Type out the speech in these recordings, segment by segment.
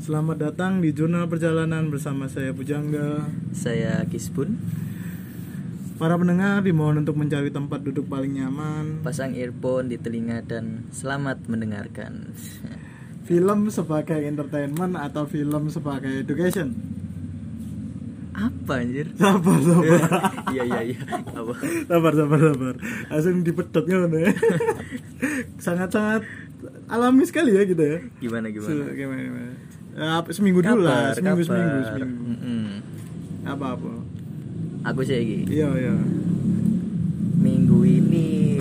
Selamat datang di Jurnal Perjalanan bersama saya Pujangga. Saya Kispun, Para pendengar dimohon untuk mencari tempat duduk paling nyaman. pasang earphone di telinga dan selamat mendengarkan. Film sebagai entertainment atau film sebagai education? Apa anjir? Sabar, sabar. Iya iya iya. Apa? sabar, sabar, sabar. Langsung dipedotnya mana ya. Sangat-sangat alami sekali ya kita ya. Gimana gimana? Se- Gimana, gimana? Ya, apa- seminggu dulu lah, Kabar, seminggu, seminggu, kabar. seminggu. Mm-mm. Apa-apa. Aku sih Egi. Iya, iya. Minggu ini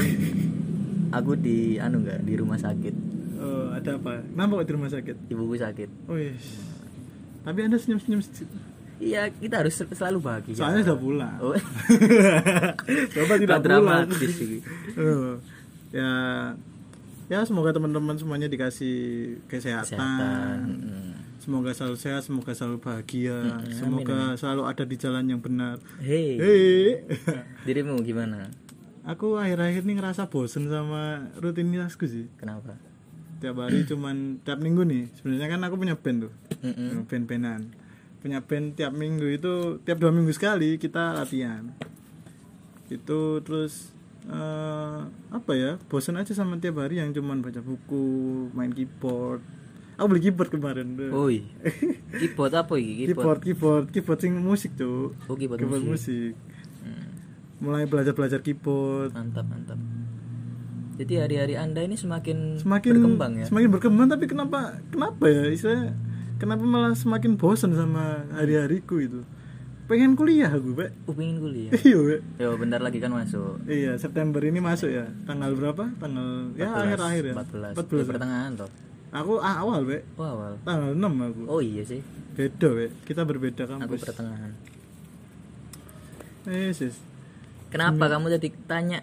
aku di anu enggak di rumah sakit. Eh, ada apa? Nampak di rumah sakit? Ibuku sakit. Oh iya. Tapi anda senyum-senyum sedikit. Iya, kita harus sel- selalu bahagia. Soalnya sudah pulang. Oh. Bapak tidak Tak pulang. dramatis ini. Eh, ya, ya semoga teman-teman semuanya dikasih kesehatan. Kesehatan. Mm. Semoga selalu sehat, semoga selalu bahagia, amin, semoga selalu ada di jalan yang benar. Hey, Hei, dirimu gimana? aku akhir-akhir ini ngerasa bosen sama rutinitasku sih. Kenapa? Tiap hari cuman tiap minggu nih. Sebenarnya kan aku punya band tuh, Mm-mm. band-bandan. Punya band tiap minggu itu tiap dua minggu sekali kita latihan. itu terus eh, apa ya bosan aja sama tiap hari yang cuman baca buku main keyboard aku beli keyboard kemarin Oi. Keyboard apa iki? keyboard keyboard keyboard sing musik tuh Oh, keyboard keyboard musik, Hmm. mulai belajar belajar keyboard Mantap, mantap. Jadi hari-hari Anda ini semakin, semakin berkembang ya. semakin berkembang tapi kenapa kenapa ya istilahnya kenapa malah semakin bosan sama hari-hariku itu pengen kuliah aku Pak. Oh, pengen kuliah. iya Pak. Yo, bentar lagi kan masuk. Iya, September ini masuk ya. Tanggal berapa? Tanggal ya 14, akhir-akhir ya. 14 14. Ya, pertengahan toh. Aku ah, awal, Be. Oh, awal. Tanggal 6 aku. Oh iya sih. Beda, Be. Kita berbeda Aku kampus. pertengahan. Eh, sis. Kenapa kamu tadi tanya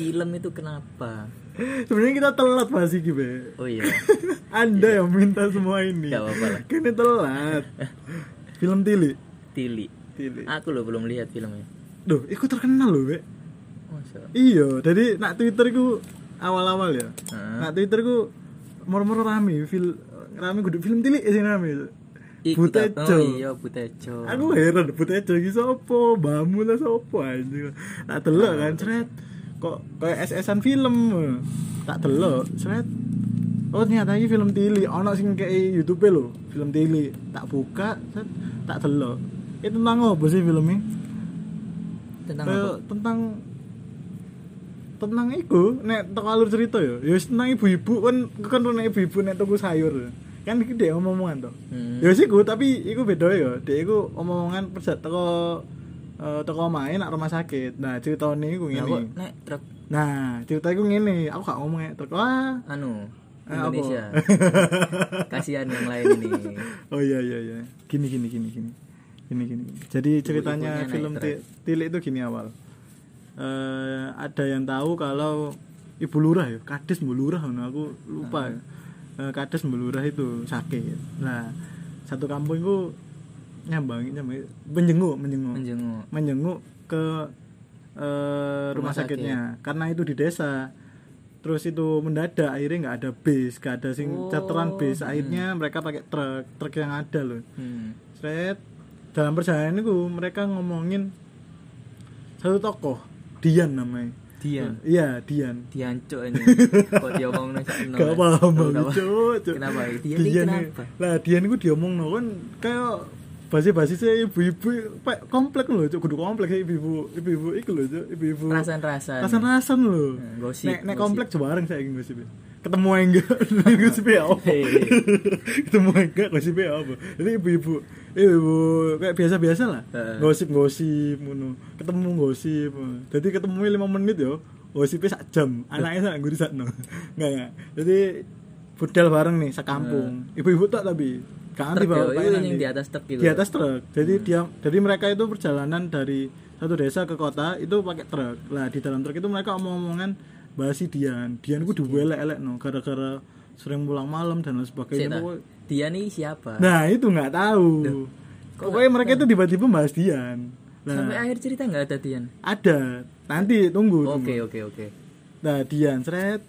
film itu kenapa? Sebenarnya kita telat Mas Iki, Be. Oh iya. Anda yang minta semua ini. Gak apa-apa lah. Kini telat. Film Tili. Tili. Tili. Aku loh belum lihat filmnya. Duh, ikut terkenal loh, Be. Masa? Iya, jadi nak Twitter ku awal-awal ya. Heeh. Nak Twitter ku moro-moro rame, fil rame kudu film Tili sing rame. Ih, Buta kita- Jo. Oh iya, Butejo. Aku heran butet jogi sopo, bamu lah sopo anjing. Tak delok kan sret. Kok kayak SS-an film. Tak delok sret. Oh ternyata ini film Tili, ono sing kayak YouTube lho, film Tili. Tak buka, sret, tak delok. Itu tentang apa sih filmnya? Tentang apa? Kayak tentang tentang iku nek teko alur cerita ya. Ya wis tentang ibu-ibu kan kan nek ibu-ibu nek tuku sayur. Kan iki dhek omong-omongan to. Hmm. Ya sih gue, tapi iku beda ya. Dek iku omongan perjat teko eh, teko main nak rumah sakit. Nah, ceritane iku Nah, kok ngene. nek truk Nah, cerita iku ngene. Aku gak ngomong ya, teko ah. anu Eh, apa? Indonesia. Kasihan yang lain ini. Oh iya iya iya. Gini gini gini gini. Gini gini. gini. Jadi ceritanya Ibu-ibunya naik film truk. Ti- Tilik itu gini awal. Eh ada yang tahu kalau Ibu Lurah ya, Kades Ibu Lurah ngono, aku Ah. lupa. ya. Eh, Kades Ibu Lurah itu sakit. Nah, satu kampung itu nyambangi nyambangi menjenguk menjenguk Menjenguk. menjenguk ke eh, rumah, Rumah sakitnya karena itu di desa terus itu mendadak akhirnya nggak ada bis nggak ada sing Oh, charteran bis akhirnya mereka pakai truk truk yang ada loh Hmm. Sret, dalam perjalanan itu mereka ngomongin satu tokoh Dian namanya Dian. Eh, iya Dian Dian cok ini. Kok dia ngomong nang sakno. Gak paham Gak aku, Cuk, Cuk. Kenapa? Dian ini kenapa? Lah Dian iku diomongno kan kayak basi-basisnya ibu-ibu pak komplek lho cuk kudu komplek ya, ibu-ibu ibu-ibu iku lho cuk ibu-ibu Rasan-rasan. rasan-rasan lho Hmm, gosip, nek nek gosip. komplek bareng saya gosip ya. ketemu ae enggak gosip ya apa Hei, hei. ketemu ae enggak gosip ya apa jadi ibu-ibu ibu kayak biasa-biasa lah Heeh. gosip-gosip ngono ketemu gosip jadi ketemu 5 menit yo gosipnya sak jam anaknya sak guri sakno enggak enggak jadi budal bareng nih sekampung ibu-ibu tak tapi kan Eh. Truk dibawa pakai yo, itu nanti. yang di atas truk gitu. di atas truk jadi dia jadi mereka itu perjalanan dari satu desa ke kota itu pakai truk lah di dalam truk itu mereka omong-omongan bahasi Dian Dian gue duwelek elek no gara-gara sering pulang malam dan lain Sik, sebagainya nah. Pokok- Dian ini siapa? nah itu nggak tahu pokoknya mereka itu tiba-tiba bahas Dian Sampai nah akhir cerita nggak ada Dian. ada nanti tunggu tunggu. Oke, oke, oke. Nah Dian seret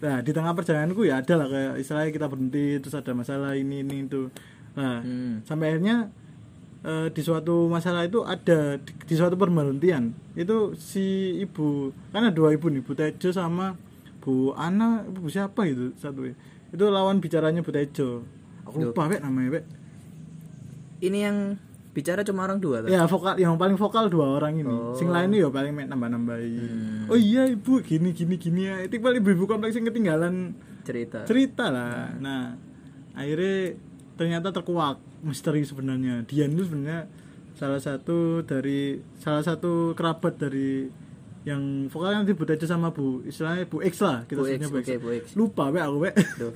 nah di tengah perjalananku ya ada lah kayak istilahnya kita berhenti terus ada masalah ini ini itu nah Hmm. sampai akhirnya eh, di suatu masalah itu ada di, di suatu perberhentian itu si ibu karena dua ibu nih Bu Tejo sama Bu Ana Bu siapa itu satu ya. itu lawan bicaranya Bu Tejo aku lupa wek namanya wek Ini yang bicara cuma orang dua kan? ya vokal yang paling vokal dua orang ini Oh. sing lainnya ya paling main nambah nambahi Hmm. oh iya ibu gini gini gini ya itu paling ibu ibu kompleks yang ketinggalan Cerita. cerita lah nah akhirnya ternyata terkuak misteri sebenarnya Dian itu sebenarnya salah satu dari salah satu kerabat dari yang vokalnya nanti Bu Tejo sama Bu istilahnya Bu X lah kita Bu X, sebutnya Bu X oke, Bu X. lupa be aku be Tuh.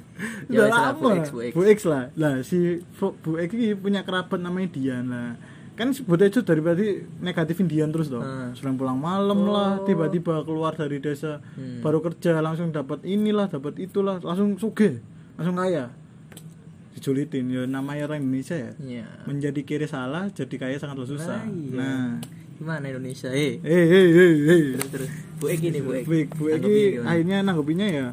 udah Ya, istilah lama Bu X, Bu X. Bu X lah lah si Vo- Bu X ini punya kerabat namanya Dian lah kan si Bu Tejo dari tadi negatifin Dian terus dong Ah. sering pulang malam lah tiba-tiba keluar dari desa Oh. Hmm. baru kerja langsung dapat inilah dapat itulah langsung suge langsung kaya dijulitin ya namanya orang Indonesia ya Iya. menjadi kiri salah jadi kaya sangatlah susah Nah, iya. nah Gimana Indonesia? Eh. eh eh eh eh Terus terus. Bu Eki nih Bu eh. Eki. baik bu Tanggapinnya Eki gimana? akhirnya nanggepinnya ya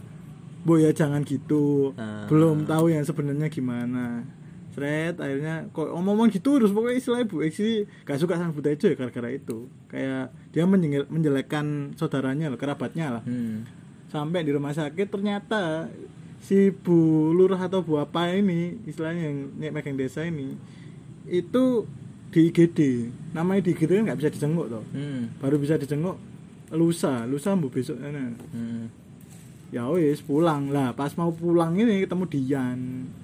bu ya jangan gitu Ah. belum tahu yang sebenarnya gimana Sret, akhirnya kok omong-omong gitu terus pokoknya istilahnya Bu Eki sih gak suka sama Bu Tejo ya gara-gara itu kayak dia menjengkel- menjelekkan saudaranya lah kerabatnya lah Hmm. sampai di rumah sakit ternyata si bu lurah atau bu apa ini istilahnya yang nek- megang desa ini itu di IGD namanya di IGD kan nggak bisa dijenguk toh Hmm. baru bisa dijenguk lusa lusa bu besok nah. Hmm. ya wis pulang lah pas mau pulang ini ketemu Dian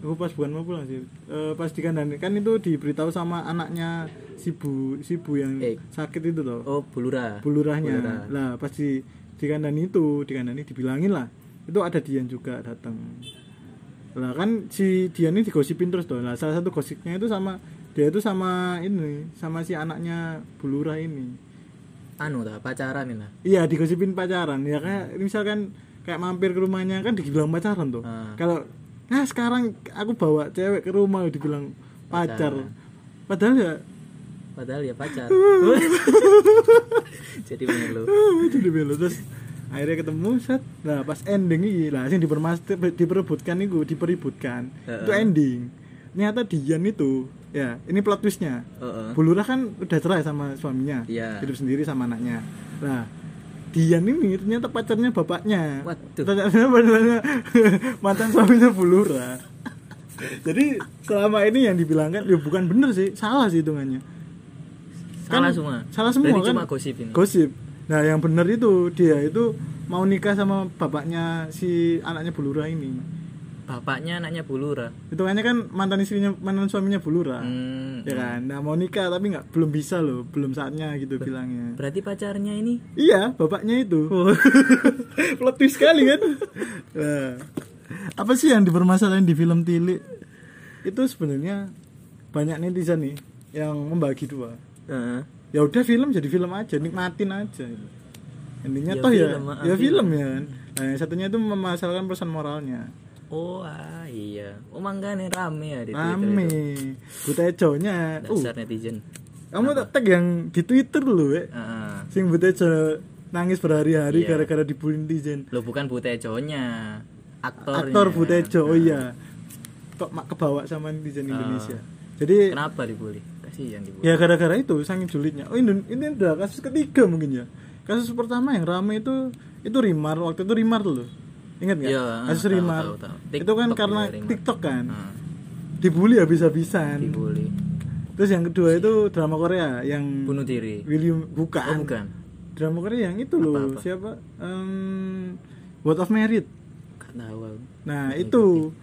oh, pas bukan mau pulang sih Eh, pas di kandang kan itu diberitahu sama anaknya si bu si bu yang Eh. sakit itu toh Oh, Bulura. bulurahnya Bulurah. lah pasti di kandang itu di kandang ini dibilangin lah itu ada Dian juga datang lah kan si Dian ini digosipin terus tuh lah salah satu gosipnya itu sama dia itu sama ini sama si anaknya bulurah ini Anu ta, pacaran ini lah. iya digosipin pacaran ya Hmm. kayak misalkan kayak mampir ke rumahnya kan dibilang pacaran tuh Ah. kalau nah sekarang aku bawa cewek ke rumah dibilang pacar padahal ya Padahal ya pacar. Jadi bener lu. Hmm, itu di belo terus akhirnya ketemu set nah pas ending ini lah yang dipermas diperebutkan itu dipeributkan Heeh. itu ending ternyata Dian itu ya ini plot twistnya Heeh. Bulurah kan udah cerai sama suaminya Iya. hidup sendiri sama anaknya nah Dian ini ternyata pacarnya bapaknya Waduh. ternyata pacarnya mantan suaminya Bulurah jadi selama ini yang dibilangkan ya bukan bener sih salah sih hitungannya Salah Kan- semua. salah semua Berarti kan cuma gosip ini. gosip nah yang benar itu dia itu mau nikah sama bapaknya si anaknya Bulura ini Bapaknya anaknya Bulura. hitungannya kan mantan istrinya mantan suaminya Bulura Hmm. ya kan nah mau nikah tapi nggak belum bisa loh belum saatnya gitu bilangnya Berarti pacarnya ini iya bapaknya itu Oh. plot twist sekali kan Nah, apa sih yang dipermasalahin di film Tilik itu sebenarnya banyak netizen nih yang membagi dua Heeh. ya udah film jadi film aja nikmatin aja intinya Ya toh ya film, maaf, ya film film. ya nah, yang satunya itu memasalkan pesan moralnya Oh ah, iya. Oh mangkane rame ya di Twitter rame itu. butejo nya uh Dasar netizen. kamu tak tag yang di twitter lu wek Heeh. sing butejo nangis berhari-hari Iya. gara-gara dibully netizen Lo bukan Butejonya, aktornya. aktor butejo oh Ah. iya kok mak kebawa sama netizen Indonesia jadi Kenapa dibully? Kasihan dibully. Ya gara-gara itu saking julidnya. Oh ini, ini udah kasus ketiga mungkin ya. Kasus pertama yang rame itu itu Rimar waktu itu Rimar loh. Ingat nggak? Iya, kasus tahu, Rimar. tahu, tahu. Itu kan TikTok karena ya, Rimar. TikTok kan. Heeh, Dibully habis-habisan. dibully. Terus yang kedua itu drama Korea yang Bunuh diri. William Oh bukan. bukan. drama Korea yang itu loh. Apa-apa? Siapa? Em, Word of Merit. Gak tahu. aku. Nah Hmm, itu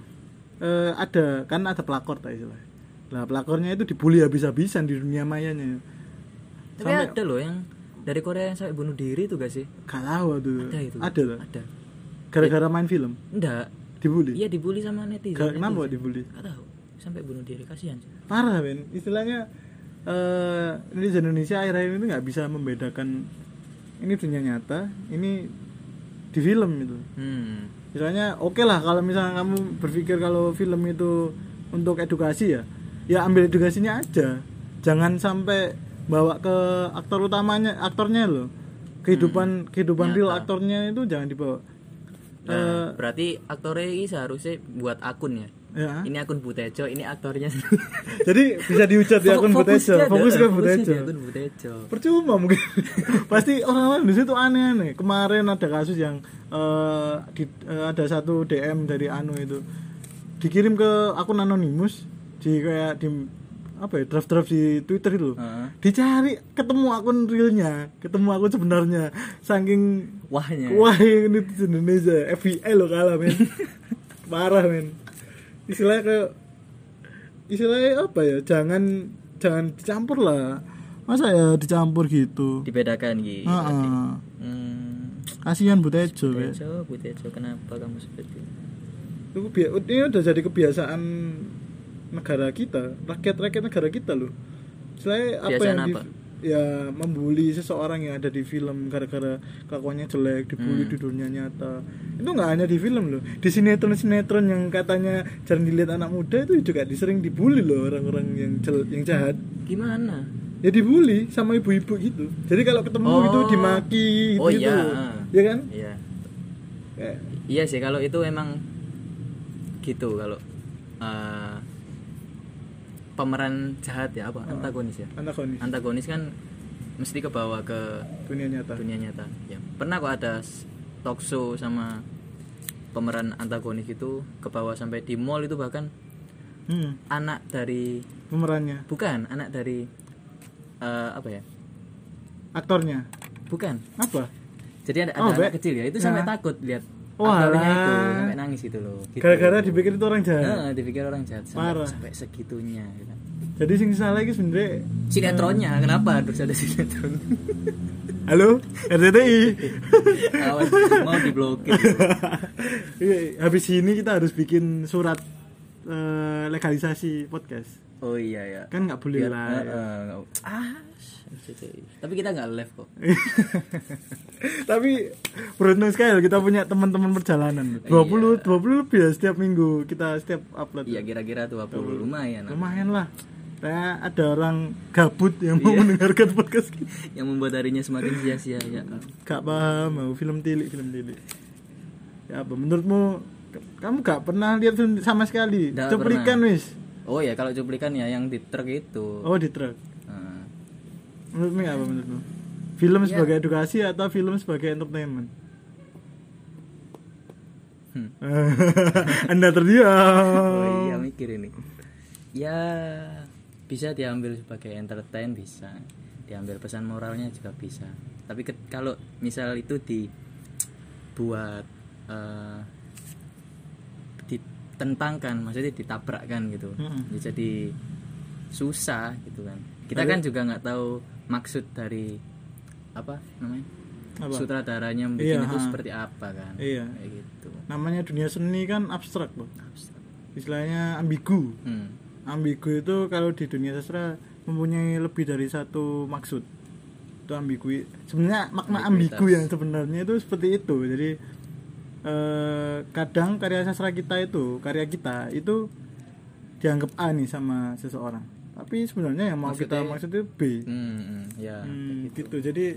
eh, ada kan ada pelakor tak istilah. Nah pelakornya itu dibully habis-habisan di dunia mayanya. Tapi ada loh yang dari Korea yang sampai bunuh diri itu gak sih? Gak tahu tuh. Ada itu. Ada lah. Ada. Gara-gara main film Enggak. dibully. Iya dibully sama netizen. Gara- kenapa netizen. dibully? Gak tahu. Sampai bunuh diri kasihan. sih. Parah men. Istilahnya eh ini di Indonesia akhir-akhir ini nggak bisa membedakan ini dunia nyata, ini di film gitu. itu. Hmm. Misalnya oke lah kalau misalnya kamu berpikir kalau film itu untuk edukasi ya, ya ambil edukasinya aja. Jangan sampai bawa ke aktor utamanya, aktornya loh. Kehidupan kehidupan real aktornya itu jangan dibawa. eh, Hmm, Nah, berarti aktornya ini seharusnya buat akun ya. ya. Ini akun Butejo, ini aktornya. Jadi bisa dihujat di akun Butejo, Fokusnya ada- fokus ke fokusnya Butejo. di akun Butejo. Percuma mungkin. Pasti orang-orang di situ aneh-aneh. Kemarin ada kasus yang eh, di- eh, ada satu DM dari Anu itu dikirim ke akun anonimus di kayak di apa ya draft-draft di Twitter itu loh. Heeh. Dicari ketemu akun realnya, ketemu akun sebenarnya. Saking Wahnya. Wah ini di Indonesia ya. FBI lo kalah men Parah men Istilahnya ke Istilahnya apa ya Jangan Jangan dicampur lah Masa ya dicampur gitu Dibedakan gitu. Heeh. Hmm. Kasihan Butejo wes. Butejo, Butejo, kenapa kamu seperti itu? Itu kebia- oh, Ini udah jadi kebiasaan Negara kita Rakyat-rakyat negara kita loh Istilahnya apa Kebiasaan yang di- apa? ya membuli seseorang yang ada di film gara-gara kelakuannya jelek dibully Hmm. di dunia nyata itu nggak hanya di film loh di sinetron sinetron yang katanya jarang dilihat anak muda itu juga disering dibully loh orang-orang yang jel- yang jahat Gimana? ya dibully sama ibu-ibu gitu jadi kalau ketemu Oh. itu gitu, dimaki gitu, Oh, iya. ya kan Iya. Kayak, Iya sih kalau itu emang gitu kalau eh, pemeran jahat ya apa antagonis ya. antagonis Antagonis kan mesti ke bawah ke dunia nyata dunia nyata. Ya. Pernah kok ada s- talk show sama pemeran antagonis itu ke bawah sampai di mall itu bahkan hmm, anak dari pemerannya bukan anak dari eh, apa ya? aktornya Bukan. apa Jadi ada, ada Oh, anak Be. kecil ya itu sampai Ya. takut lihat Walah. aktornya itu sampai nangis gitu loh. Gitu. gara-gara dipikir itu orang jahat Heeh, dipikir orang jahat sampai, Parah. sampai segitunya gitu. jadi sing salah itu sebenarnya Hmm. Sinetronnya kenapa harus ada sinetron? halo RCTI Awas mau diblokir. Iya, habis ini kita harus bikin surat eh, legalisasi podcast. Oh iya ya. Kan nggak boleh Biar- lah. Heeh, nggak- ah. SCTI. Tapi kita nggak live kok. Tapi beruntung sekali loh, kita punya teman-teman perjalanan. Iya. 20 20 lebih ya setiap minggu kita setiap upload. Iya kira-kira tuh apa lumayan. Lumayan lah. Saya ada orang gabut yang Iya. mau mendengarkan podcast kita. Yang membuat harinya semakin sia-sia ya. Gak paham mau film tilik, film tilik. Ya apa menurutmu k- kamu gak pernah lihat film sama sekali? Nggak Cuplikan pernah. wis. Oh ya kalau cuplikan ya yang di truk itu. Oh di truk. Heeh. Menurutmu apa menurutmu? Film sebagai edukasi atau film sebagai entertainment? Hmm. Anda Oh terdiam. iya mikir ini. Ya bisa diambil sebagai entertain bisa, diambil pesan moralnya juga bisa. Tapi ke- kalau misal itu dibuat eh, ditentangkan, maksudnya ditabrakkan gitu, Mm-mm. ya jadi susah gitu kan. Kita kan juga nggak tahu maksud dari apa namanya Apa? sutradaranya bikin Iya, itu ha. seperti apa kan? Iya. Kayak gitu. Nah, Namanya dunia seni kan abstrak, Bang. Istilahnya ambigu. Hmm. Ambigu itu kalau di dunia sastra mempunyai lebih dari satu maksud. Itu ambigu. Sebenarnya makna ambigu yang sebenarnya itu seperti itu. Jadi eh, kadang karya sastra kita itu, karya kita itu dianggap A nih sama seseorang. Tapi sebenarnya yang mau kita maksud itu B. Hmm, hmm, ya. Hmm, gitu. Jadi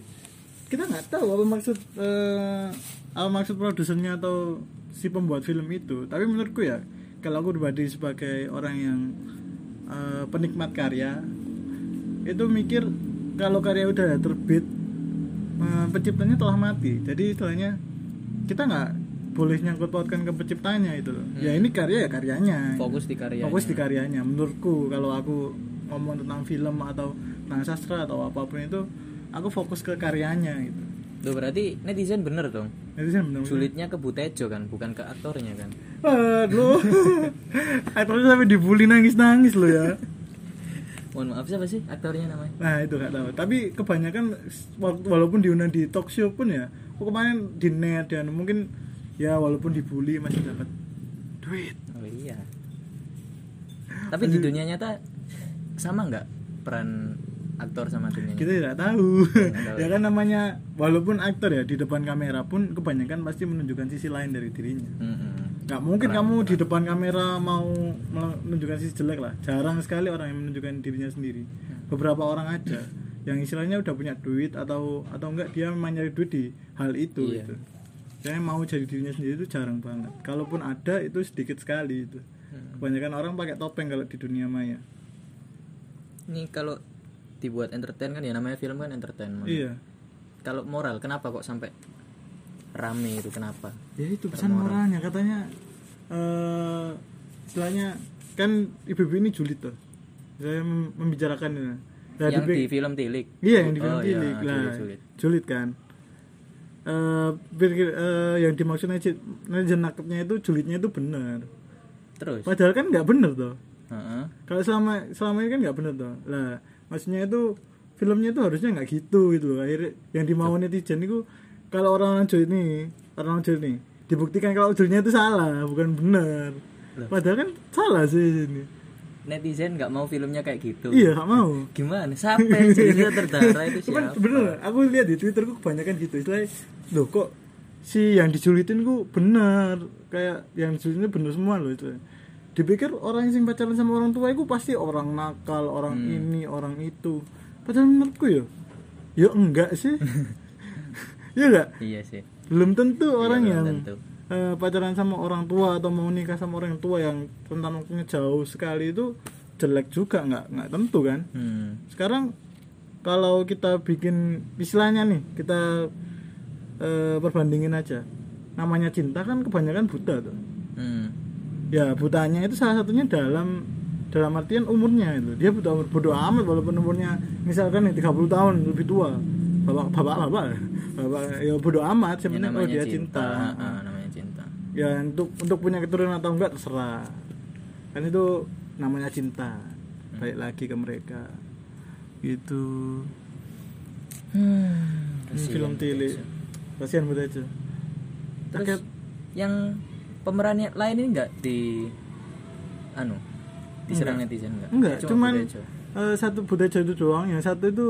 kita nggak tahu apa maksud eh, apa maksud produsernya atau si pembuat film itu. Tapi menurutku ya kalau aku pribadi sebagai orang yang eh, penikmat karya itu mikir kalau karya udah terbit eh, penciptanya telah mati. Jadi istilahnya kita nggak boleh nyangkut pautkan ke penciptanya itu loh. Ya ini karya ya karyanya fokus di karya fokus di karyanya menurutku kalau aku ngomong tentang film atau tentang sastra atau apapun itu aku fokus ke karyanya gitu Loh, berarti netizen bener dong jadi saya benar sulitnya ke Butejo kan bukan ke aktornya kan aduh aktornya sampai dibully nangis nangis lo ya mohon maaf siapa sih aktornya namanya nah itu gak tahu tapi kebanyakan wala- walaupun diundang di talk show pun ya aku kemarin di net dan mungkin ya walaupun dibully masih dapat duit oh iya tapi di dunia nyata sama nggak peran aktor sama dunia nyata? kita tidak tahu Iya, Nggak tahu. ya kan namanya walaupun aktor ya di depan kamera pun kebanyakan pasti menunjukkan sisi lain dari dirinya Mm-mm. nggak mungkin kamu di depan kamera mau menunjukkan sisi jelek lah jarang sekali orang yang menunjukkan dirinya sendiri beberapa orang aja yang istilahnya udah punya duit atau atau enggak dia memang nyari duit di hal itu Iya. gitu. saya mau jadi dirinya sendiri itu jarang banget kalaupun ada itu sedikit sekali itu kebanyakan orang pakai topeng kalau di dunia maya Ini kalau dibuat entertain kan ya namanya film kan entertainment. iya Kalau moral kenapa kok sampai rame itu kenapa? ya itu pesan moralnya katanya eh istilahnya kan ibu-ibu ini julid tuh saya mem- membicarakan ini Nah, yang dipik- di film tilik. Iya yang di film Oh, iya, Tilik lah. julid-julid. Julid kan. Eh pikir- eh, yang dimaksud Najib Najib nakepnya itu julidnya itu benar. Terus. Padahal kan nggak benar toh. Heeh. Kalau selama selama ini kan nggak benar toh. Lah maksudnya itu filmnya itu harusnya nggak gitu gitu loh. Akhirnya yang dimau Iya. netizen itu kalau orang-orang julid nih, orang-orang julid nih dibuktikan kalau julidnya itu salah, bukan benar. Padahal kan salah sih ini. Netizen nggak mau filmnya kayak gitu. Iya, nggak mau. Gimana? Siapa yang jadinya berdarah itu Cuman siapa? bener, aku lihat di Twitter ku kebanyakan gitu. Istilahnya, loh kok si yang dijulitin ku bener, kayak yang dijulitin bener semua loh itu. Dipikir orang yang pacaran sama orang tua itu pasti orang nakal, orang Hmm. ini, orang itu. Padahal menurutku ya, ya enggak sih. ya enggak, Iya sih. belum tentu orang Iya, yang belum tentu. eh, pacaran sama orang tua atau mau nikah sama orang tua yang rentan waktunya jauh sekali itu jelek juga nggak nggak tentu kan Hmm. sekarang kalau kita bikin istilahnya nih kita eh, perbandingin aja namanya cinta kan kebanyakan buta tuh Hmm. ya butanya itu salah satunya dalam dalam artian umurnya itu dia buta umur bodoh amat walaupun umurnya misalkan nih 30 tahun lebih tua bapak bapak bapak bapak ya bodoh amat Ya, sebenarnya kalau namanya dia cinta. cinta Heeh, namanya cinta. ya untuk untuk punya keturunan atau enggak terserah kan itu namanya cinta balik lagi ke mereka gitu Hmm. ini film tili kasihan buat aja Terus yang pemerannya lain ini enggak di anu diserang netizen enggak? enggak Ya, cuman Budi Ajo. eh, satu budaja itu doang yang satu itu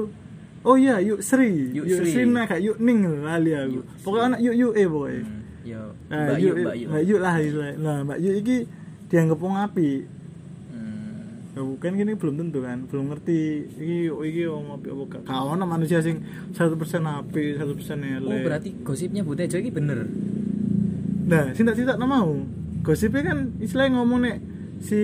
oh iya yuk Sri Yuk yuk, Sri Sri. nah kayak yuk Ning lali aku pokoknya anak yuk yuk eh pokoknya Hmm, yo nah, Mbak Yu, yuk, Mbak Yu. Mbak Yuk lah istilahnya. nah Mbak Yuk iki dianggap wong api Hmm, Ya, bukan gini belum tentu kan belum ngerti iki iki om api apa gak Gak ono manusia sing 100% api 100% Oh, elek berarti gosipnya Budi Ajo ini bener. nah cinta cinta nama mau gosipnya kan istilahnya ngomong nek si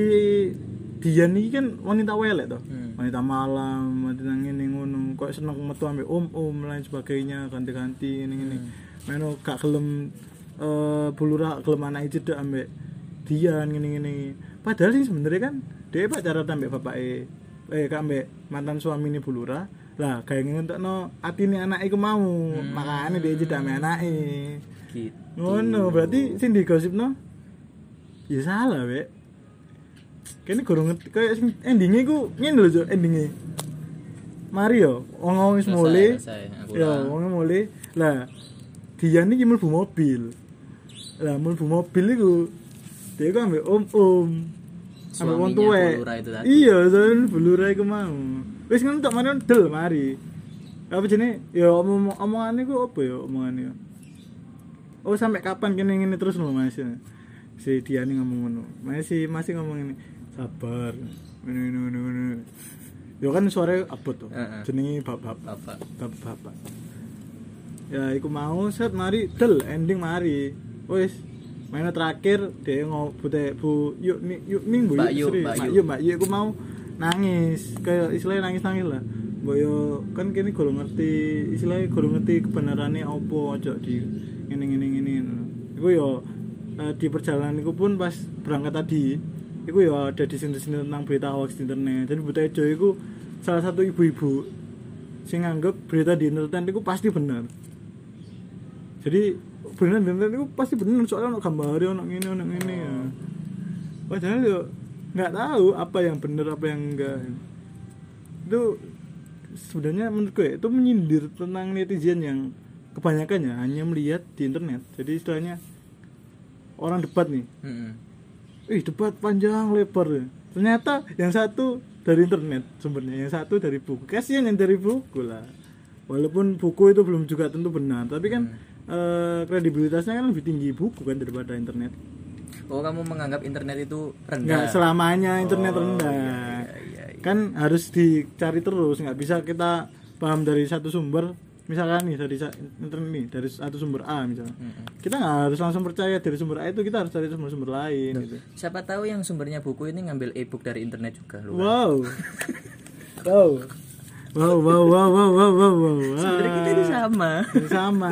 Dian ini kan wanita welek toh Hmm. wanita malam wanita ngene ngono kok seneng metu ambek om om lain sebagainya ganti ganti ini ini meno gak kelem eh bulura kelem anak itu deh ambek Dian gini gini padahal sih sebenarnya kan dia pacaran ambek bapak e eh kak ambek mantan suami ini bulura lah kayak ngentok no hati ini anak iku mau makanya dia jadi ambek anak e Gitu. ngono berarti sing digosipno ya salah wek kene gurung ngerti kayak sing endinge ku ngene lho Cuk, endinge Mario wong-wong wis Selesai, mule selesai. Aku ya ulang. wong mule lah dia niki mlebu mobil lah mlebu mobil iku dia ku ambek om-om ambek wong Suaminya tuwek Bulura itu tadi. iya soalnya bulura iku mau wis ngono tok mari del mari apa jenenge ya omong omongane ku apa ya omongane ya oh sampai kapan kene ngene terus lho Mas si Diani ngomong ngono masih masih ngomong ini sabar ngono ngono ngono, ngono ya kan suaranya abot tuh Heeh. jenenge bab-bab Bapak. bapak ya iku mau set mari del ending mari wis mainnya terakhir dia ngomong bute bu yuk ni, yuk ning bu Mbak Yu, Sri. Mbak mbak Yu. yuk mbak yuk iku mau nangis kayak istilahnya nangis nangis lah boyo kan kini kurang ngerti istilahnya kurang ngerti kebenarannya opo ojo di ini ini ini iku yo eh, di perjalanan iku pun pas berangkat tadi iku yo ada di sini-sini tentang berita hoax di internet jadi buta ijo iku salah satu ibu-ibu sing nganggep berita di internet itu pasti benar jadi benar di internet itu pasti benar soalnya ono gambarnya ono ini ono ini ya padahal yo nggak tahu apa yang benar apa yang enggak itu sebenarnya menurut gue itu menyindir tentang netizen yang kebanyakannya hanya melihat di internet jadi istilahnya orang debat nih Heeh. Ih debat panjang lebar ya. Ternyata yang satu dari internet sumbernya, yang satu dari buku. Kasihan yang dari buku lah. Walaupun buku itu belum juga tentu benar, tapi kan eh, Hmm. kredibilitasnya kan lebih tinggi buku kan daripada internet. Oh, kamu menganggap internet itu rendah. Enggak selamanya internet Oh, rendah. iya, iya, iya, iya. Kan harus dicari terus, nggak bisa kita paham dari satu sumber misalkan nih dari sa- internet nih dari satu sumber A misalnya Mm-mm. kita nggak harus langsung percaya dari sumber A itu kita harus cari sumber-sumber lain gitu Siapa tahu yang sumbernya buku ini ngambil e-book dari internet juga loh. wow wow wow wow wow wow wow wow wow Sebenarnya kita ini sama. Ini sama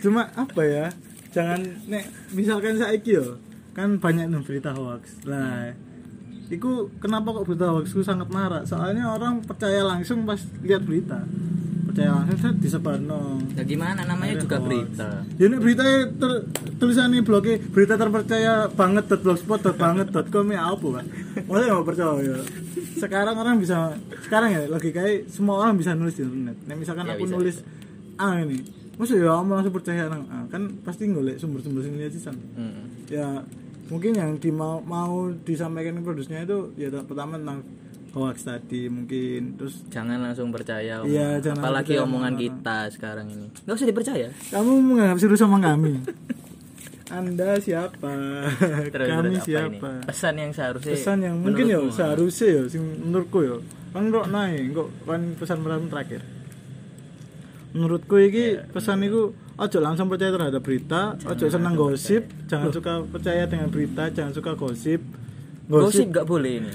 cuma apa ya jangan nek misalkan saiki yo kan banyak nih berita hoax lah Iku kenapa kok berita hoax itu sangat marak? Soalnya orang percaya langsung pas lihat berita, percaya langsung set disebar Ya gimana namanya Ada juga hoax. berita. Ya nek berita ter, tulisannya blognya berita terpercaya banget dot blogspot dot banget dot com ya apa kan? Maksudnya nggak percaya. ya. Sekarang orang bisa sekarang ya logikanya semua orang bisa nulis di internet. Nek misalkan Ya, aku bisa, nulis ah ini, maksud ya kamu langsung percaya orang ah, kan pasti golek sumber-sumber sendiri aja San. Mm-mm. Ya mungkin yang di mau, mau disampaikan ke produsernya itu ya t- pertama tentang hoax tadi mungkin terus Jangan langsung percaya. om. Iya, jangan Apalagi percaya omongan omongan kita sekarang ini. Nggak usah dipercaya. Kamu menganggap serius sama kami? Anda siapa? Terus, kami terus apa siapa? ini? Pesan yang seharusnya. Pesan yang mungkin ya menurutmu? seharusnya ya, sing menurutku ya. Kan kok naik, kok kan pesan pesan terakhir. Menurutku iki Ya, pesan iku ojo langsung percaya terhadap berita, ojo seneng gosip, jangan suka percaya dengan berita, jangan suka gosip. Gosip ya Gosip, nggak boleh ini.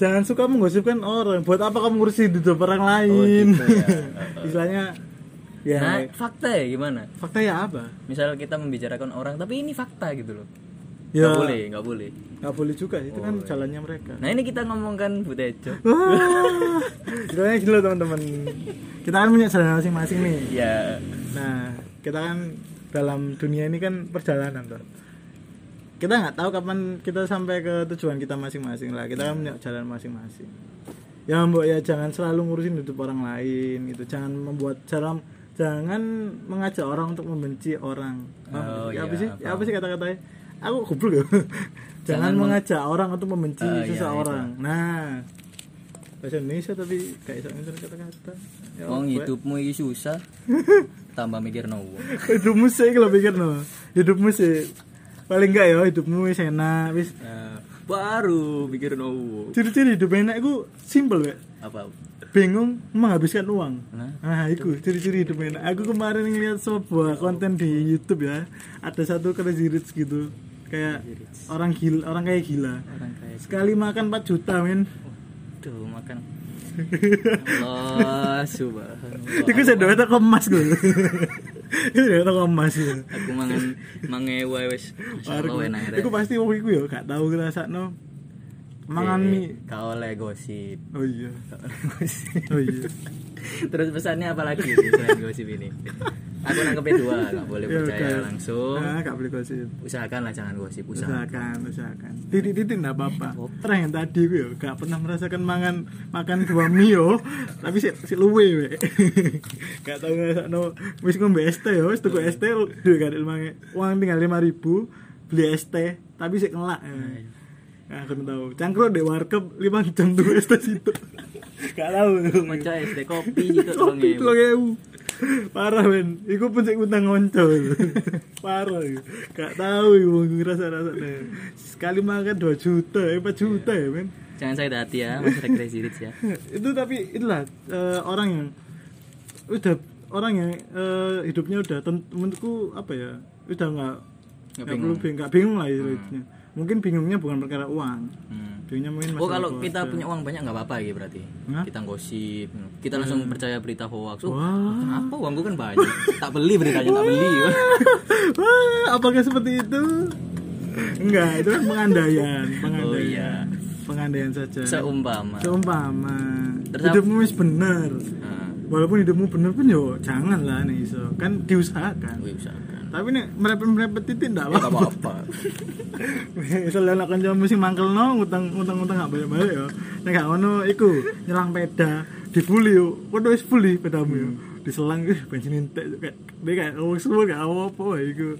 jangan suka menggosipkan orang. Buat apa kamu ngurusin hidup orang lain? gitu ya. Istilahnya ya Nah, fakta ya gimana? fakta ya apa? Misal kita membicarakan orang, tapi ini fakta gitu loh. Ya Nggak boleh, nggak boleh. nggak boleh juga itu kan jalannya mereka Nah ini kita ngomongkan Bu Tejo. Wah, istilahnya gini loh teman-teman kita kan punya jalan masing-masing nih Ya, nah kita kan dalam dunia ini kan perjalanan tuh kita nggak tahu kapan kita sampai ke tujuan kita masing-masing lah kita kan punya jalan masing-masing ya mbok ya jangan selalu ngurusin hidup orang lain gitu jangan membuat jalan jangan mengajak orang untuk membenci orang Paham nggak sih? Oh, iya, apa sih Ya, paham. apa sih kata-katanya aku goblok ya jangan, mengajak orang untuk membenci Ah, iya, seseorang nah bahasa Indonesia tapi kayak iso ngincer kata-kata Ya, Wong mbok. hidupmu ini susah. Tambah mikir no wong. hidupmu sih kalau pikir no hidupmu sih paling enggak ya hidupmu wis enak wis Nah, baru mikir no wong. ciri-ciri hidup enak itu simple wek Apa? bingung menghabiskan uang Nah. nah itu ciri-ciri hidup enak aku kemarin ngeliat sebuah konten di YouTube ya ada satu crazy rich gitu kayak orang gila orang kayak gila Orang kaya. sekali makan 4 juta men Waduh, makan. Allah subhanallah. itu saya doa toko emas gue itu doa toko emas gitu. Aku mangan mangewa wis. Warung. Masyaallah enak enak. Iku pasti wong iku ya gak tau ngrasakno Iya, mangan mie. Gak oleh gosip. Oh iya. Gak oleh gosip. Oh iya. Terus pesannya apa lagi nih selain gosip ini? Aku nangkepnya dua, gak boleh Ya, percaya udah. langsung. Nah, gak boleh gosip. Usahakanlah jangan gosip, usaha. Usahakan, usahakan. Titik-titik enggak apa-apa. Orang yang tadi gue ya gak pernah merasakan mangan makan dua mie yo, tapi si, si luwe we. gak tau ngrasakno wis ngombe es teh yo, wis tuku es teh duwe gak ada mangan. Uang tinggal 5000 beli es teh, tapi sik ngelak. ya. Nah, aku tau. Cangkruk di warkep 5 jam tuku es teh situ. gak tau. Mencah SD kopi gitu tolong Kopi ya. telung ewu. Parah men, iku pun sik utang ngonco. Parah iku. Gak tahu iku wong ngerasa-rasane. Sekali makan 2 juta, eh, 4 juta ya men. Jangan sakit hati ya, Mas Rekre Sirits ya. Itu tapi itulah eh, orang yang udah orang yang eh, hidupnya udah tent- menurutku apa ya? Udah nggak nggak perlu bing- nggak bingung lah hidupnya. Mungkin bingungnya bukan perkara uang. Hmm. Bingungnya mungkin masalah Oh kalau keluarga. kita punya uang banyak nggak apa-apa gitu berarti. Hah? Hmm. Kita gosip, kita langsung percaya berita hoax. Oh, Wah. kenapa uangku kan banyak? tak beli beritanya, tak beli. Wah, apakah seperti itu? Enggak, itu kan pengandaian, pengandaian. Oh, iya. Pengandaian saja. Seumpama. Seumpama. Terus apa? hidupmu wis bener. Nah, Walaupun hidupmu bener pun yo jangan lah nih iso. Kan diusahakan. wih, usahakan. Tapi nek merepet-merepet titik ndak Ya, Oh, iya. nggak apa-apa. apa-apa. Soalnya anak kanca musik mangkel no, utang utang utang nggak banyak banyak yo. Nek gak ngono, iku nyelang peda, dibully yo. Waduh wis bully pedamu yo. Diselang ih bensin entek yo. kayak dia kayak ngomong semua gak apa apa iku.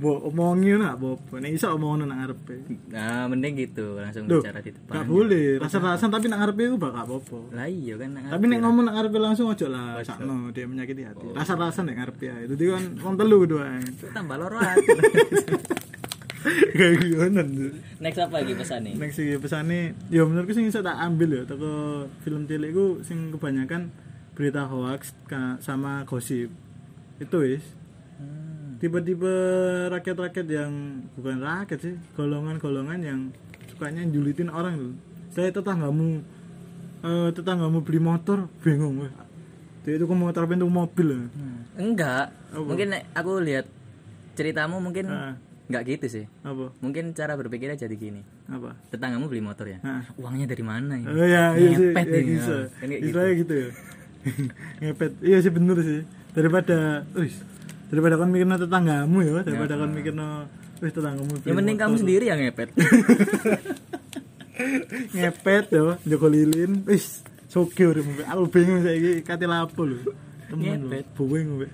Bo omongin nak bo apa. Nek iso omongin nak ngarepe. Nah, mending gitu langsung Duh, bicara di depan. ya. gak boleh. Rasa-rasa tapi nak ngarepe iku bak gak apa-apa. Lah iya kan. Tapi nek ngomong nak ngarepe langsung ojo lah sakno dia menyakiti hati. Rasa-rasa nek ngarepe ae. Dadi kan wong telu doang. tambah loro Kayak gimana tuh? Next apa lagi pesan nih? Next iki pesane ya menurutku sing iso tak ambil ya teko film cilik ku sing kebanyakan berita hoax ka- sama gosip itu wis Hmm. tiba-tiba rakyat-rakyat yang bukan rakyat sih golongan-golongan yang sukanya julitin orang tuh saya tetanggamu eh, tetanggamu beli motor bingung weh. dia itu ke motor pintu mobil eh. Enggak. Apa? Mungkin nek aku lihat ceritamu mungkin Ah. enggak gitu sih. apa Mungkin cara berpikirnya jadi gini. apa Tetanggamu beli motor ya? Ah. Uangnya dari mana ya? Oh ya, iya sih, Ngepet iya, ini, bisa. ah. Kan kayak gitu. Istilahnya gitu. ya. Ngepet. Iya sih bener sih. Daripada, wis, daripada kan mikirno tetanggamu ya, daripada kan mikirno wis tetanggamu. Yang penting Ya, kamu sendiri yang ngepet. ngepet ya, Joko Lilin. Wis, soge uripmu. Aku bingung saiki kate lapo lho. Temen lho, Ngepet. boeing kowe.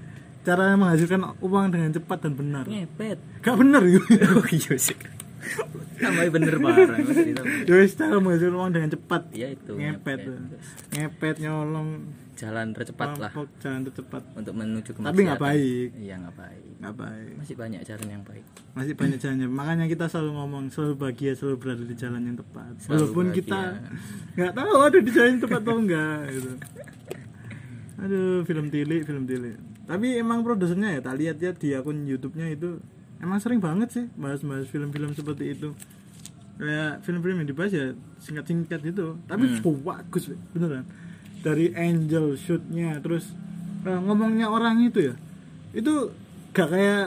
Cara menghasilkan uang dengan cepat dan benar. ngepet. Gak bener itu. Iya. Oh iya sih. Tambah bener parah. Mas, cerita. Ya wis, cara menghasilkan uang dengan cepat. Ya itu. Ngepet. ya. Ngepet nyolong Jalan tercepat lah rampok, jalan tercepat. untuk menuju ke Tapi nggak baik. Iya nggak baik. Nggak baik. Masih banyak jalan yang baik. masih banyak jalannya makanya kita selalu ngomong selalu bahagia selalu berada di jalan yang tepat walaupun bahagia. kita nggak tahu ada di jalan yang tepat atau enggak gitu aduh film tilik film tilik tapi emang produsernya ya tak lihat ya di akun YouTube-nya itu emang sering banget sih bahas-bahas film-film seperti itu kayak film-film yang dibahas ya singkat-singkat gitu tapi bagus weh, beneran dari angel shootnya terus eh, ngomongnya orang itu ya itu gak kayak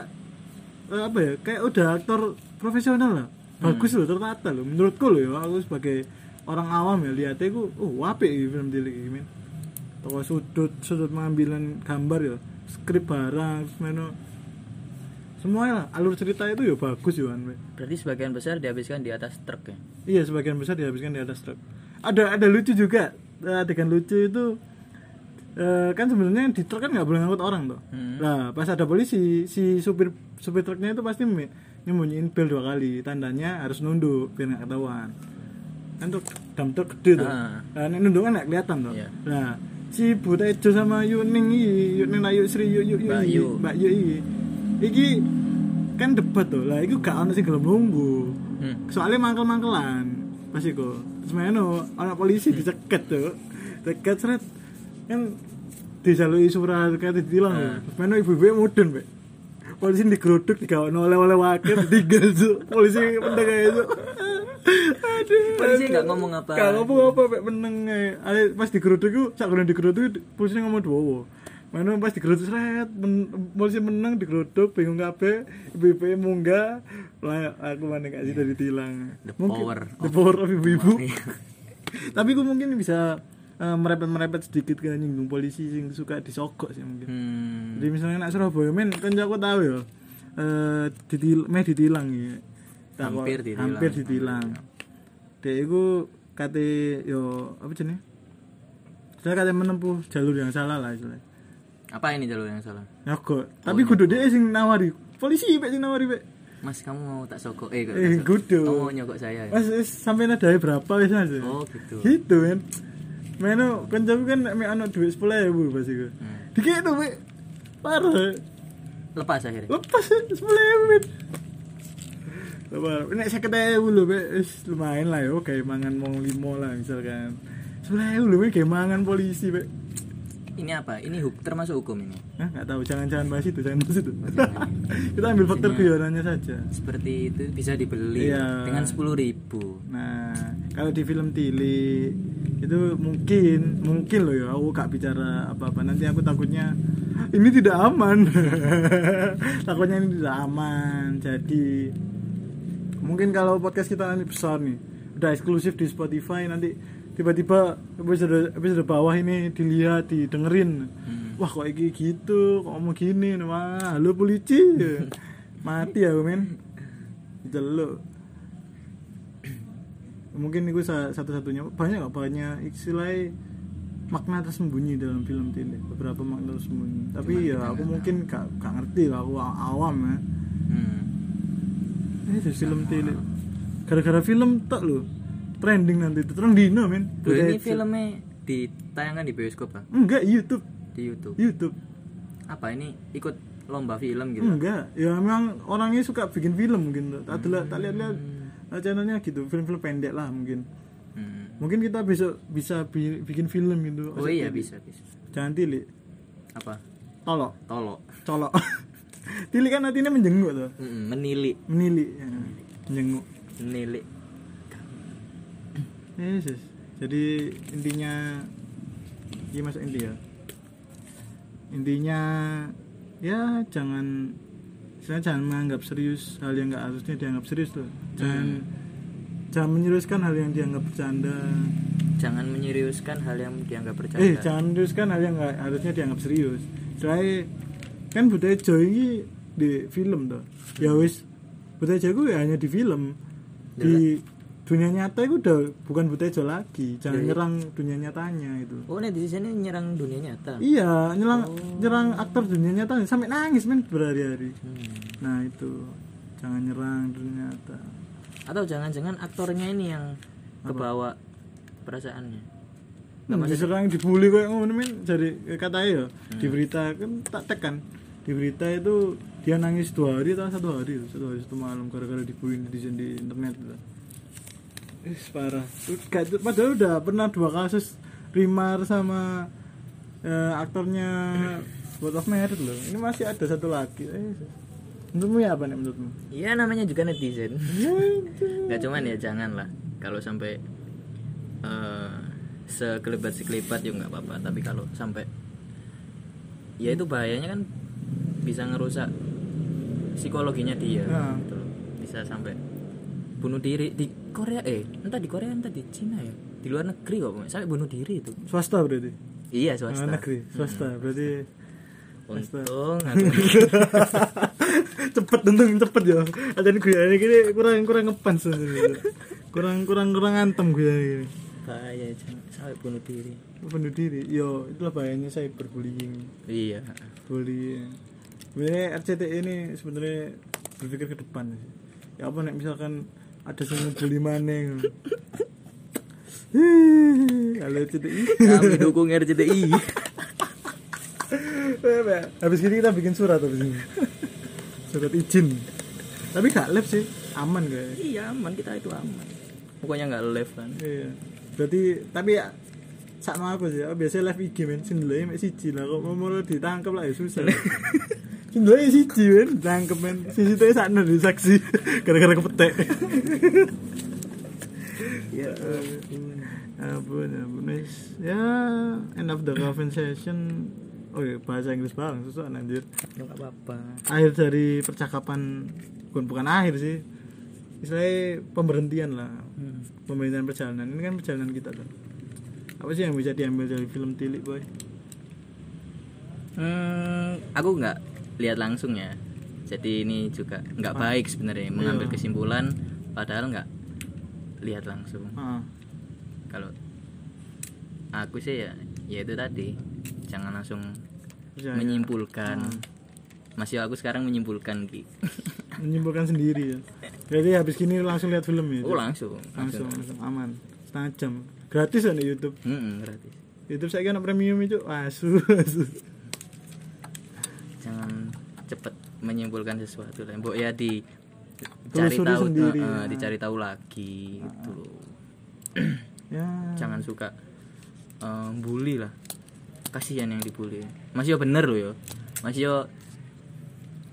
eh, apa ya kayak udah aktor profesional lah bagus loh tertata loh menurutku loh ya aku sebagai orang awam ya lihatnya aku oh apik ini film Tilik ini men. toko sudut sudut pengambilan gambar ya skrip barang menu semuanya lah alur cerita itu ya bagus ya kan, weh. Berarti sebagian besar dihabiskan di atas truk ya. Iya sebagian besar dihabiskan di atas truk. Ada ada lucu juga Eh, adegan lucu itu eh, kan sebenarnya di truk kan nggak boleh ngangkut orang tuh. Hmm. Nah pas ada polisi si supir supir truknya itu pasti me- nyembunyiin bel dua kali tandanya harus nunduk biar nggak ketahuan. Kan tuh dam truk gede tuh. Ah. Nah, nek nunduk kan nggak kelihatan tuh. Iya. Nah si buta ijo sama Yuning iki, Yuning Ayu Sri Yu Yu Yu Mbak iki, Yu. Mbak Yu iki. Iki kan debat tuh lah, itu gak ono sing gelem nunggu Hmm. soalnya mangkel-mangkelan pas iku terus meno anak polisi diceket tuh diceket seret kan disalui surat kata ditilang Ah. terus meno ibu-ibu mudun be polisi digeruduk digawe oleh oleh wakil tinggal tuh polisi meneng aja tuh aduh Polisi aduh. nggak ngomong apa. Nggak ngomong apa be meneng aja. Ale pas digeruduk itu sak kurang digeruduk polisi ngomong dua Mano pas digeruduk seret, men, polisi menang digeruduk, bingung kabeh, ibu-ibu munggah, lah aku mana kasih dari tilang. Iya. The power the power of ibu-ibu. Tapi aku mungkin bisa eh, merepet-merepet sedikit ke nyinggung polisi yang suka disogok sih mungkin. Hmm. Jadi misalnya nak Surabaya men kan aku tahu ya. Eh ditil meh ditilang ya. Tak kok- Hampir ditilang. Hampir ditilang. Dek iku kate yo apa jenenge? Saya kate menempuh jalur yang salah lah istilahnya. Apa ini jalur yang salah? Nyogok. Oh, Tapi kudu dhek sing nawari. Polisi pek sing nawari pek. Mas kamu mau tak sogok eh, kok tak Eh, sogok. kudu. Kamu mau nyogok saya ya? Mas wis sampeyan ada berapa wis Mas? Oh gitu. Gitu men. Meno kancaku kan mek ana duit 10.000 pas iku. Hmm. Dikekno pek. Parah. Lepas akhirnya. lepas sepuluh ewu men lepas nek seket ewu lho Be. Wis lumayan lah yo kayak mangan wong limo lah misalkan sepuluh ewu lho Be, kayak mangan polisi Be. Ini apa? Ini huk termasuk hukum ini. Hah, nggak tahu jangan-jangan bahas itu jangan bahas itu jangan. kita ambil faktor guyonannya saja Seperti itu bisa dibeli Iya. dengan 10.000 ribu. nah kalau di film Tili itu mungkin mungkin loh ya aku gak bicara apa-apa nanti aku takutnya "Ah, ini tidak aman takutnya ini tidak aman jadi mungkin kalau podcast kita nanti besar nih udah eksklusif di Spotify nanti tiba-tiba episode episode bawah ini dilihat didengerin wah kok iki gitu kok mau gini wah lu polisi mati ya men jelek mungkin itu sa- satu-satunya banyak gak banyak istilahnya makna tersembunyi dalam film Tile beberapa makna tersembunyi tapi ya aku mungkin gak, gak ngerti lah aku a- awam ya Hmm. ini dari film Tile gara-gara film tak lo trending nanti itu terang dino men Loh, ini filmnya ditayangkan di bioskop Pak? enggak YouTube Di YouTube. YouTube Apa ini ikut lomba film gitu? enggak ya memang orangnya suka bikin film mungkin tak ada tak lihat-lihat eh, channelnya gitu film-film pendek lah mungkin Hmm. mungkin kita besok bisa bi- bikin film gitu Oh iya bisa bisa. jangan tilik apa tolok tolok colok tilik kan artinya menjenguk tuh Mm-mm, Hmm, menilik menilik ya. menjenguk menilik Ya, Yes, yes. Jadi intinya Iya masuk inti ya Intinya Ya jangan Saya jangan menganggap serius Hal yang nggak harusnya dianggap serius loh Jangan Jangan menyeriuskan hal yang dianggap bercanda jangan menyeriuskan hal yang dianggap bercanda Eh jangan menyeriuskan hal yang nggak harusnya dianggap serius Soalnya Kan budaya Jawa ini di film tuh Ya wis Budaya Jawa itu ya hanya di film Di dunia nyata itu udah bukan budaya Jawa lagi Jangan Iya. nyerang dunia nyatanya itu oh netizen ini nyerang dunia nyata Iya, nyerang nyerang aktor dunia nyata sampai nangis men berhari-hari. Hmm. Nah itu jangan nyerang dunia nyata. atau jangan-jangan aktornya ini yang kebawa perasaannya Nggak diserang Hmm, dibully kayak ngono men. Jadi kata ya di berita kan tak tekan. Di berita itu dia nangis dua hari atau satu hari, satu hari satu malam gara-gara dibully netizen di internet. Itu. Ih, parah. Udah- Padahal udah pernah dua kasus Rimar sama eh, aktornya World of Merit loh. Ini masih ada satu lagi. Eh, menurutmu ya apa nih menurutmu? iya namanya juga netizen Ya, itu. nggak cuman ya jangan lah kalau sampai eh sekelebat sekelebat ya nggak apa-apa tapi kalau sampai ya itu bahayanya kan bisa ngerusak psikologinya dia Nah. gitu loh. bisa sampai bunuh diri di Korea eh entah di Korea entah di Cina ya di luar negeri kok pokoknya. sampai bunuh diri itu Swasta berarti. iya Swasta. Hmm. swasta negeri, swasta. Berarti untung aku cepet untung cepet ya. Ada gue ini gini kurang kurang ngepans gitu. Kurang kurang kurang antem gue ini. bahaya jangan sampai bunuh diri Bunuh diri. Yo, itulah bahayanya cyberbullying. iya Bullying. Sebenarnya RCTI ini sebenarnya berpikir ke depan sih. Ya apa nek misalkan ada yang ngebully maneh. Hih, Halo RCTI. kami dukung RCTI habis ini kita bikin surat habis ini surat izin tapi gak lab sih aman kayak iya aman kita itu aman pokoknya nggak live kan iya berarti tapi ya sama aku sih aku biasanya live IG men sendulanya mek siji lah kok mau mau ditangkap lah ya susah sendulanya siji men tangkep men sisi tuh sana di saksi gara-gara kepetek ya Ya ampun ampun wis ya end of the conversation oh iya bahasa Inggris bareng susah anjir nggak apa-apa akhir dari percakapan bukan bukan akhir sih istilahnya pemberhentian lah Hmm. pemberhentian perjalanan ini kan perjalanan kita tuh apa sih yang bisa diambil dari film tilik boy Hmm, aku nggak lihat langsung ya jadi ini juga nggak baik sebenarnya mengambil Iya. kesimpulan padahal nggak lihat langsung ah kalau aku sih ya ya itu tadi jangan langsung percaya. Iya, menyimpulkan Hmm. masih aku sekarang menyimpulkan Ki. menyimpulkan sendiri ya jadi habis gini langsung lihat film ya oh langsung langsung, langsung aman setengah jam gratis ya di YouTube Mm-mm, Hmm, gratis YouTube saya kan premium itu asu asu jangan cepet menyimpulkan sesuatu lah mbok ya di Telusuri cari tahu sendiri, Nah. eh, ya. dicari tahu lagi gitu loh ya jangan suka eh, bully lah kasihan yang dibully masih yo bener loh yo masih yo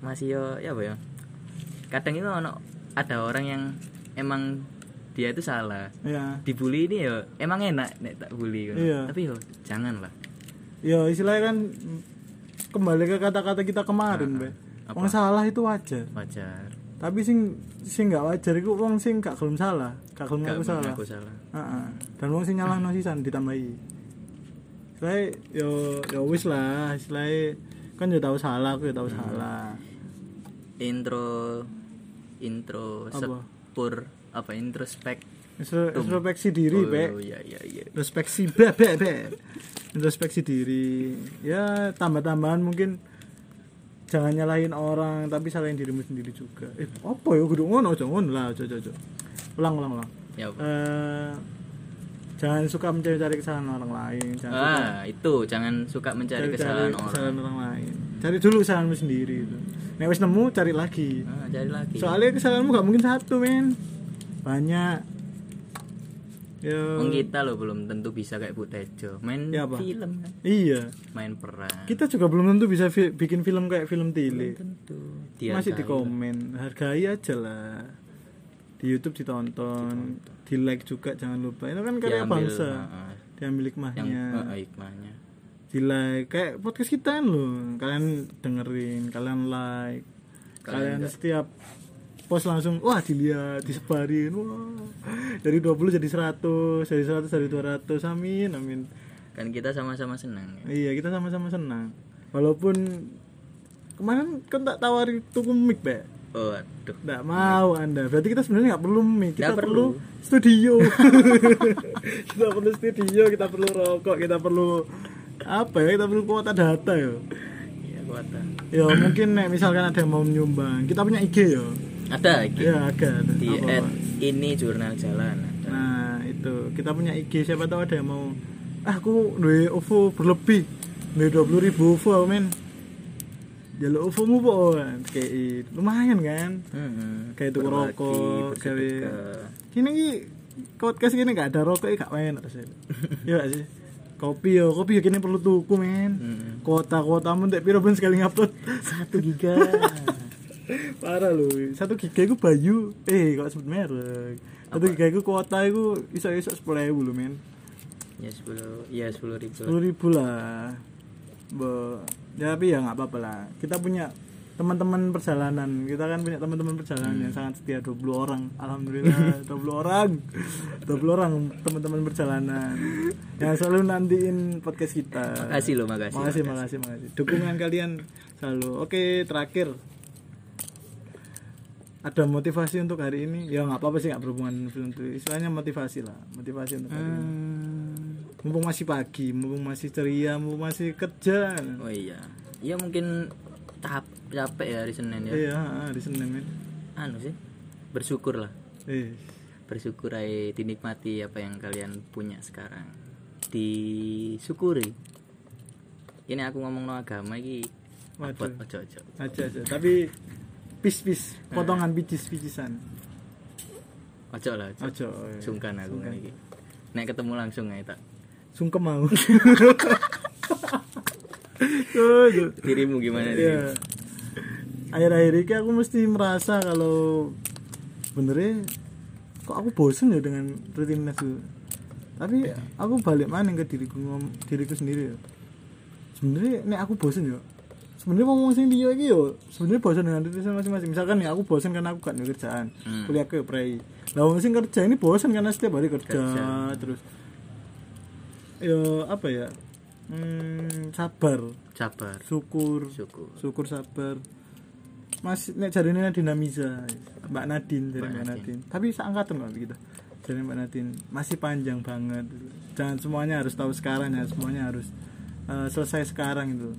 masih yo ya apa ya kadang itu ono ada orang yang emang dia itu salah ya dibully ini yo emang enak nek tak bully kan. Iya. tapi yo jangan lah ya istilahnya kan kembali ke kata-kata kita kemarin Bay. Nah, Apa? Wong salah itu wajar wajar tapi sing sing nggak wajar iku wong sing gak gelem salah gak gelem gak ngaku salah mengaku salah Heeh. dan wong sing nyalahno sisan ditambahi saya yo yo wis lah istilahnya kan yo tahu salah aku yo Hmm. tahu salah intro intro Apa? sepur apa introspek Instro- introspeksi diri oh, Pak. iya iya iya introspeksi be be be introspeksi diri ya tambah-tambahan mungkin jangan nyalahin orang tapi salahin dirimu sendiri juga eh apa ya kudu ngono aja ngono lah aja aja aja. ulang ulang ulang ya apa? eh jangan suka mencari-cari kesalahan orang lain jangan suka ah itu jangan suka mencari cari-cari kesalahan orang kesalahan orang lain cari dulu kesalahanmu sendiri itu nek wis nemu cari lagi ah, cari lagi soalnya kesalahanmu gak mungkin satu men banyak Ya. Wong kita loh belum tentu bisa kayak Bu Tejo main Ya, apa? film kan, Iya. main peran. Kita juga belum tentu bisa fi- bikin film kayak film Tili. Belum tentu. Masih tahu. di komen. Hargai aja lah. Di YouTube ditonton, di like juga jangan lupa. Itu kan karya Diambil, bangsa. heeh. Diambil yang hikmahnya. eh, hikmahnya. Di like kayak podcast kita kan loh. Kalian dengerin, kalian like. Kalian, setiap post langsung wah dilihat, disebarin. Wah. Dari 20 jadi 100, dari 100 dari 200. Amin, amin. Kan kita sama-sama senang. ya. Iya kita sama-sama senang Walaupun Kemarin kan tak tawari tuku mic Bek Oh, aduh. Nggak mau anda Berarti kita sebenarnya nggak perlu mic Kita Nggak perlu. perlu. studio Kita perlu studio Kita perlu rokok Kita perlu Apa ya Kita perlu kuota data ya Iya, kuat. ah. Ya mungkin nek misalkan ada yang mau nyumbang Kita punya IG ya Ada lagi Ya agak ada. di Apa? at ini jurnal jalan ada. Nah itu Kita punya IG Siapa tahu ada yang mau Ah aku duwe OVO berlebih Duwe 20 ribu OVO aku men "Ya, Jalur OVO mu po Kayak lumayan kan Mm-mm. Kayak tuku Berbagi, rokok Kayak bersedekah. Gini ki Podcast gini gak ada rokok gak enak rasanya Iya gak sih Kopi yo, kopi yo kini perlu tuku men Mm-mm. Kota-kota mun tak piro ben sekali ngupload Satu giga. Parah lu, satu giga itu bayu Eh kok sebut merek Satu giga itu kuota itu iso-iso 10.000 lu men ya sepuluh, ya sepuluh ribu. lah. sepuluh ribu lah Be, ya, tapi ya nggak apa-apa lah kita punya teman-teman perjalanan kita kan punya teman-teman perjalanan yang sangat setia 20 orang alhamdulillah 20 orang 20 orang teman-teman perjalanan yang selalu nantiin podcast kita Makasih loh, makasih. makasih makasih makasih dukungan kalian selalu oke terakhir ada motivasi untuk hari ini ya nggak apa-apa sih nggak berhubungan film itu istilahnya motivasi lah motivasi untuk hari ini Hmm. mumpung masih pagi mumpung masih ceria mumpung masih kerja Oh iya. Ya mungkin tahap capek ya hari Senin ya. iya hari senin men Anu sih. Bersyukur lah. eh Bersyukur aja dinikmati apa yang kalian punya sekarang. Disyukuri. Ini aku ngomong no agama iki. waduh Buat ojo ojo. aja aja tapi pis pis Eh. potongan picis picisan Ojo lah ojo. aja eh. Sungkan aku Sungkan. ngene iki. Nek ketemu langsung ae tak. sungkem mau Aduh. Dirimu gimana Iya. dirimu? Akhir-akhir ini aku mesti merasa kalau benernya kok aku bosen ya dengan rutinitas itu. Tapi Iya. aku balik mana ke diriku ngom- diriku sendiri ya. Sebenarnya nek aku bosen ya. Sebenarnya ngomong sing dia iki yo, sebenarnya bosen dengan rutinitas masing-masing. Misalkan ya aku bosen karena aku gak ada kerjaan. Hmm. Kuliah ke prei. Lah wong sing kerja ini bosen karena setiap hari kerja, Kerja. terus ya apa ya? Hmm, sabar Sabar. syukur Syukur. syukur sabar mas nek jarine dinamiza mbak Nadine dari Mbak mbak Nadine. Nadine tapi seangkatan kalau kita dari mbak Nadine masih panjang banget jangan semuanya harus tahu sekarang ya semuanya harus eh, selesai sekarang itu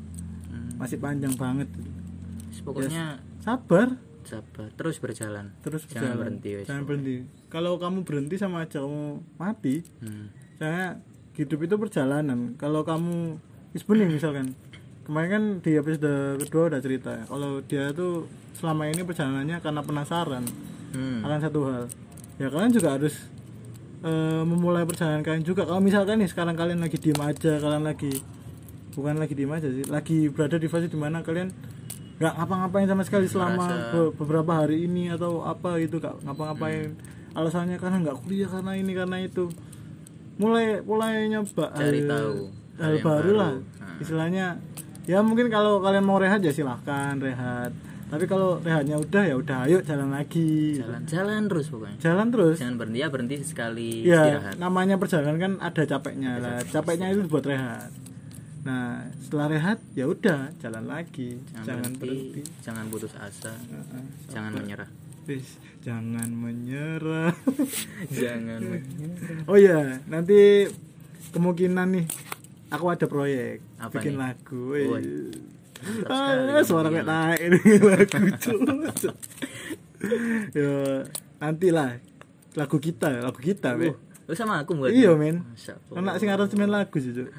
Hmm. masih panjang banget Pokoknya sabar sabar terus berjalan. terus Jangan berjalan. berhenti, wes. jangan berhenti kalau kamu berhenti sama aja kamu mati Hmm. saya hidup itu perjalanan kalau kamu is bening misalkan kemarin kan di episode kedua udah cerita ya, kalau dia tuh selama ini perjalanannya karena penasaran Hmm. akan satu hal ya kalian juga harus eh, memulai perjalanan kalian juga kalau misalkan nih sekarang kalian lagi diem aja kalian lagi bukan lagi diem aja sih lagi berada di fase dimana kalian nggak ngapa-ngapain sama sekali selama Merasa- be- beberapa hari ini atau apa gitu nggak ngapa-ngapain Hmm. alasannya karena nggak kuliah karena ini karena itu mulai mulai nyoba Cari hal- tahu, hal hal yang baru baru. lah Nah. istilahnya ya mungkin kalau kalian mau rehat ya silahkan rehat tapi kalau rehatnya udah ya udah ayo jalan lagi Jalan jalan terus pokoknya. jalan terus Jangan berhenti ya berhenti sekali ya istirahat. namanya perjalanan kan ada capeknya lah capeknya itu buat rehat nah setelah rehat ya udah jalan lagi Jangan, jangan berhenti, berhenti jangan putus asa, Heeh. jangan menyerah. Please, jangan menyerah jangan menyerah. oh ya nanti kemungkinan nih aku ada proyek Apa bikin nih? lagu Woi. Ah, suara kayak naik ini lagu cuk. ya nanti lah lagu kita lagu kita Uh. Be. Lu sama aku buat Iya, men. Masya Allah. Anak sing aransemen lagu sih, Cuk.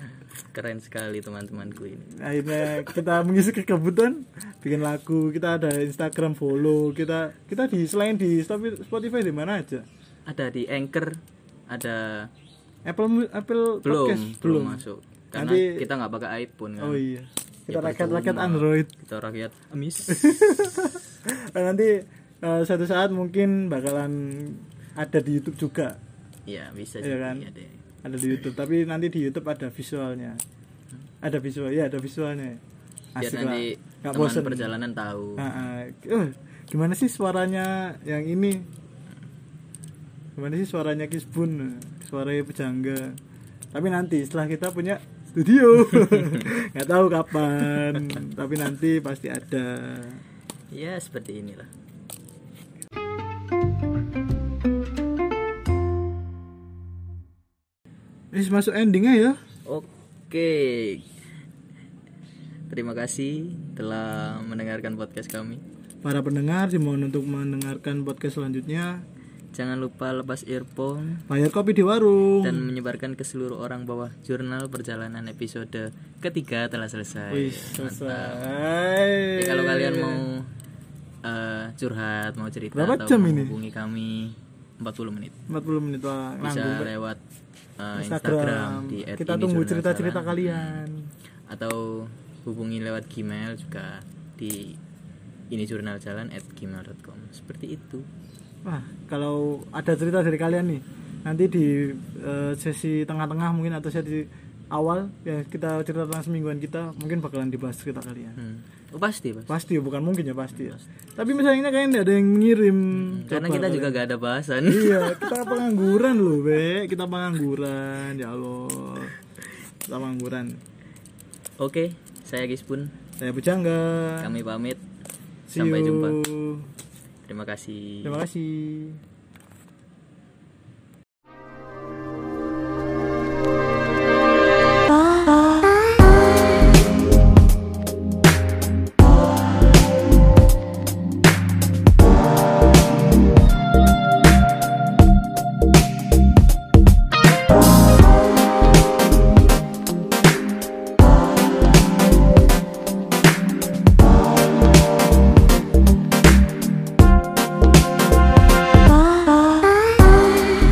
Keren sekali teman-temanku ini. Akhirnya kita mengisi kekebutan bikin lagu, kita ada Instagram follow, kita kita di selain di Spotify di mana aja? Ada di Anchor, ada Apple mu- Apple belum Podcast? belum masuk karena Nanti- kita nggak pakai iPhone kan Oh iya. Kita Ya, rakyat-rakyat percuma. Android. kita rakyat amis Eh, Nanti eh, suatu saat mungkin bakalan ada di YouTube juga. ya bisa Iya jadi kan? ya deh Ada di YouTube, tapi nanti di YouTube ada visualnya. Ada visual, ya ada visualnya. biar Asik nanti lah. Nggak teman bosen. perjalanan tahu Ah, ah. Eh, gimana sih suaranya yang ini? Gimana sih suaranya Kisbun? Suaranya pejangga. Tapi nanti setelah kita punya studio, nggak tahu kapan. Tapi nanti pasti ada. ya seperti inilah Ini masuk endingnya ya. oke terima kasih telah mendengarkan podcast kami Para pendengar dimohon untuk mendengarkan podcast selanjutnya. jangan lupa lepas earphone Bayar kopi di warung. dan menyebarkan ke seluruh orang bahwa jurnal perjalanan episode ketiga telah selesai. Wih, selesai. Jadi kalau kalian mau eh, curhat, mau cerita Berapa atau jam mau ini? hubungi kami 40 menit. 40 menit lah. Bisa Nanggung. lewat eh, Instagram, Instagram. di Kita tunggu @ini cerita-cerita jurnal saran. Hmm. kalian. atau hubungi lewat Gmail juga di ini jurnal jalan at gmail.com seperti itu Wah, kalau ada cerita dari kalian nih, nanti di eh, sesi tengah-tengah mungkin atau sesi awal ya kita cerita tentang semingguan kita mungkin bakalan dibahas cerita kalian. hmm. oh, pasti pasti Pasti ya, bukan mungkin ya pasti ya. Tapi misalnya kalian nggak ada yang ngirim Hmm, karena Coba kita kalian- juga gak ada bahasan Iya, kita pengangguran loh, Be. Kita pengangguran, ya Allah. Kita pengangguran. oke saya Gispun Saya bujangga. kami pamit See sampai you. jumpa. Iya. terima kasih Terima kasih.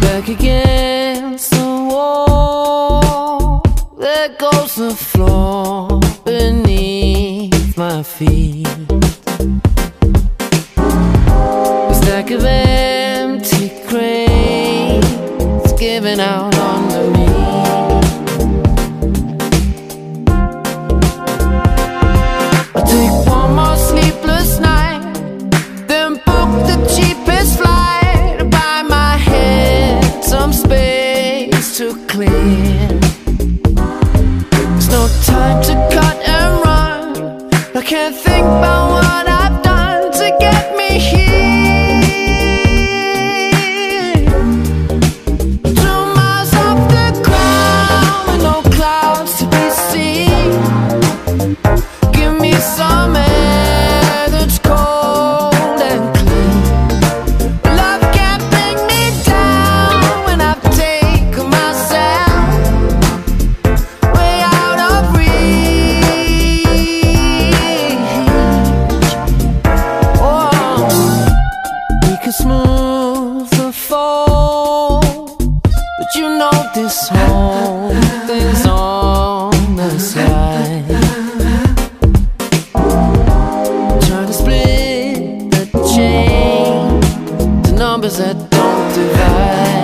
back against the wall that goes the floor beneath my feet a stack of empty crates giving out onto me I take one more sleepless night then book the cheapest flight. Buy my head some space to clear. There's no time to cut and run. I can't think about what I've done to get me here. Two miles off the ground with no clouds to be seen. Give me some air that's cold and clean. Love can't bring me down when I've taken myself way out of reach. Oh, we can smooth the fall, but you know this whole thing's on the slide. Trying to split the chain, the numbers that don't divide. Oh.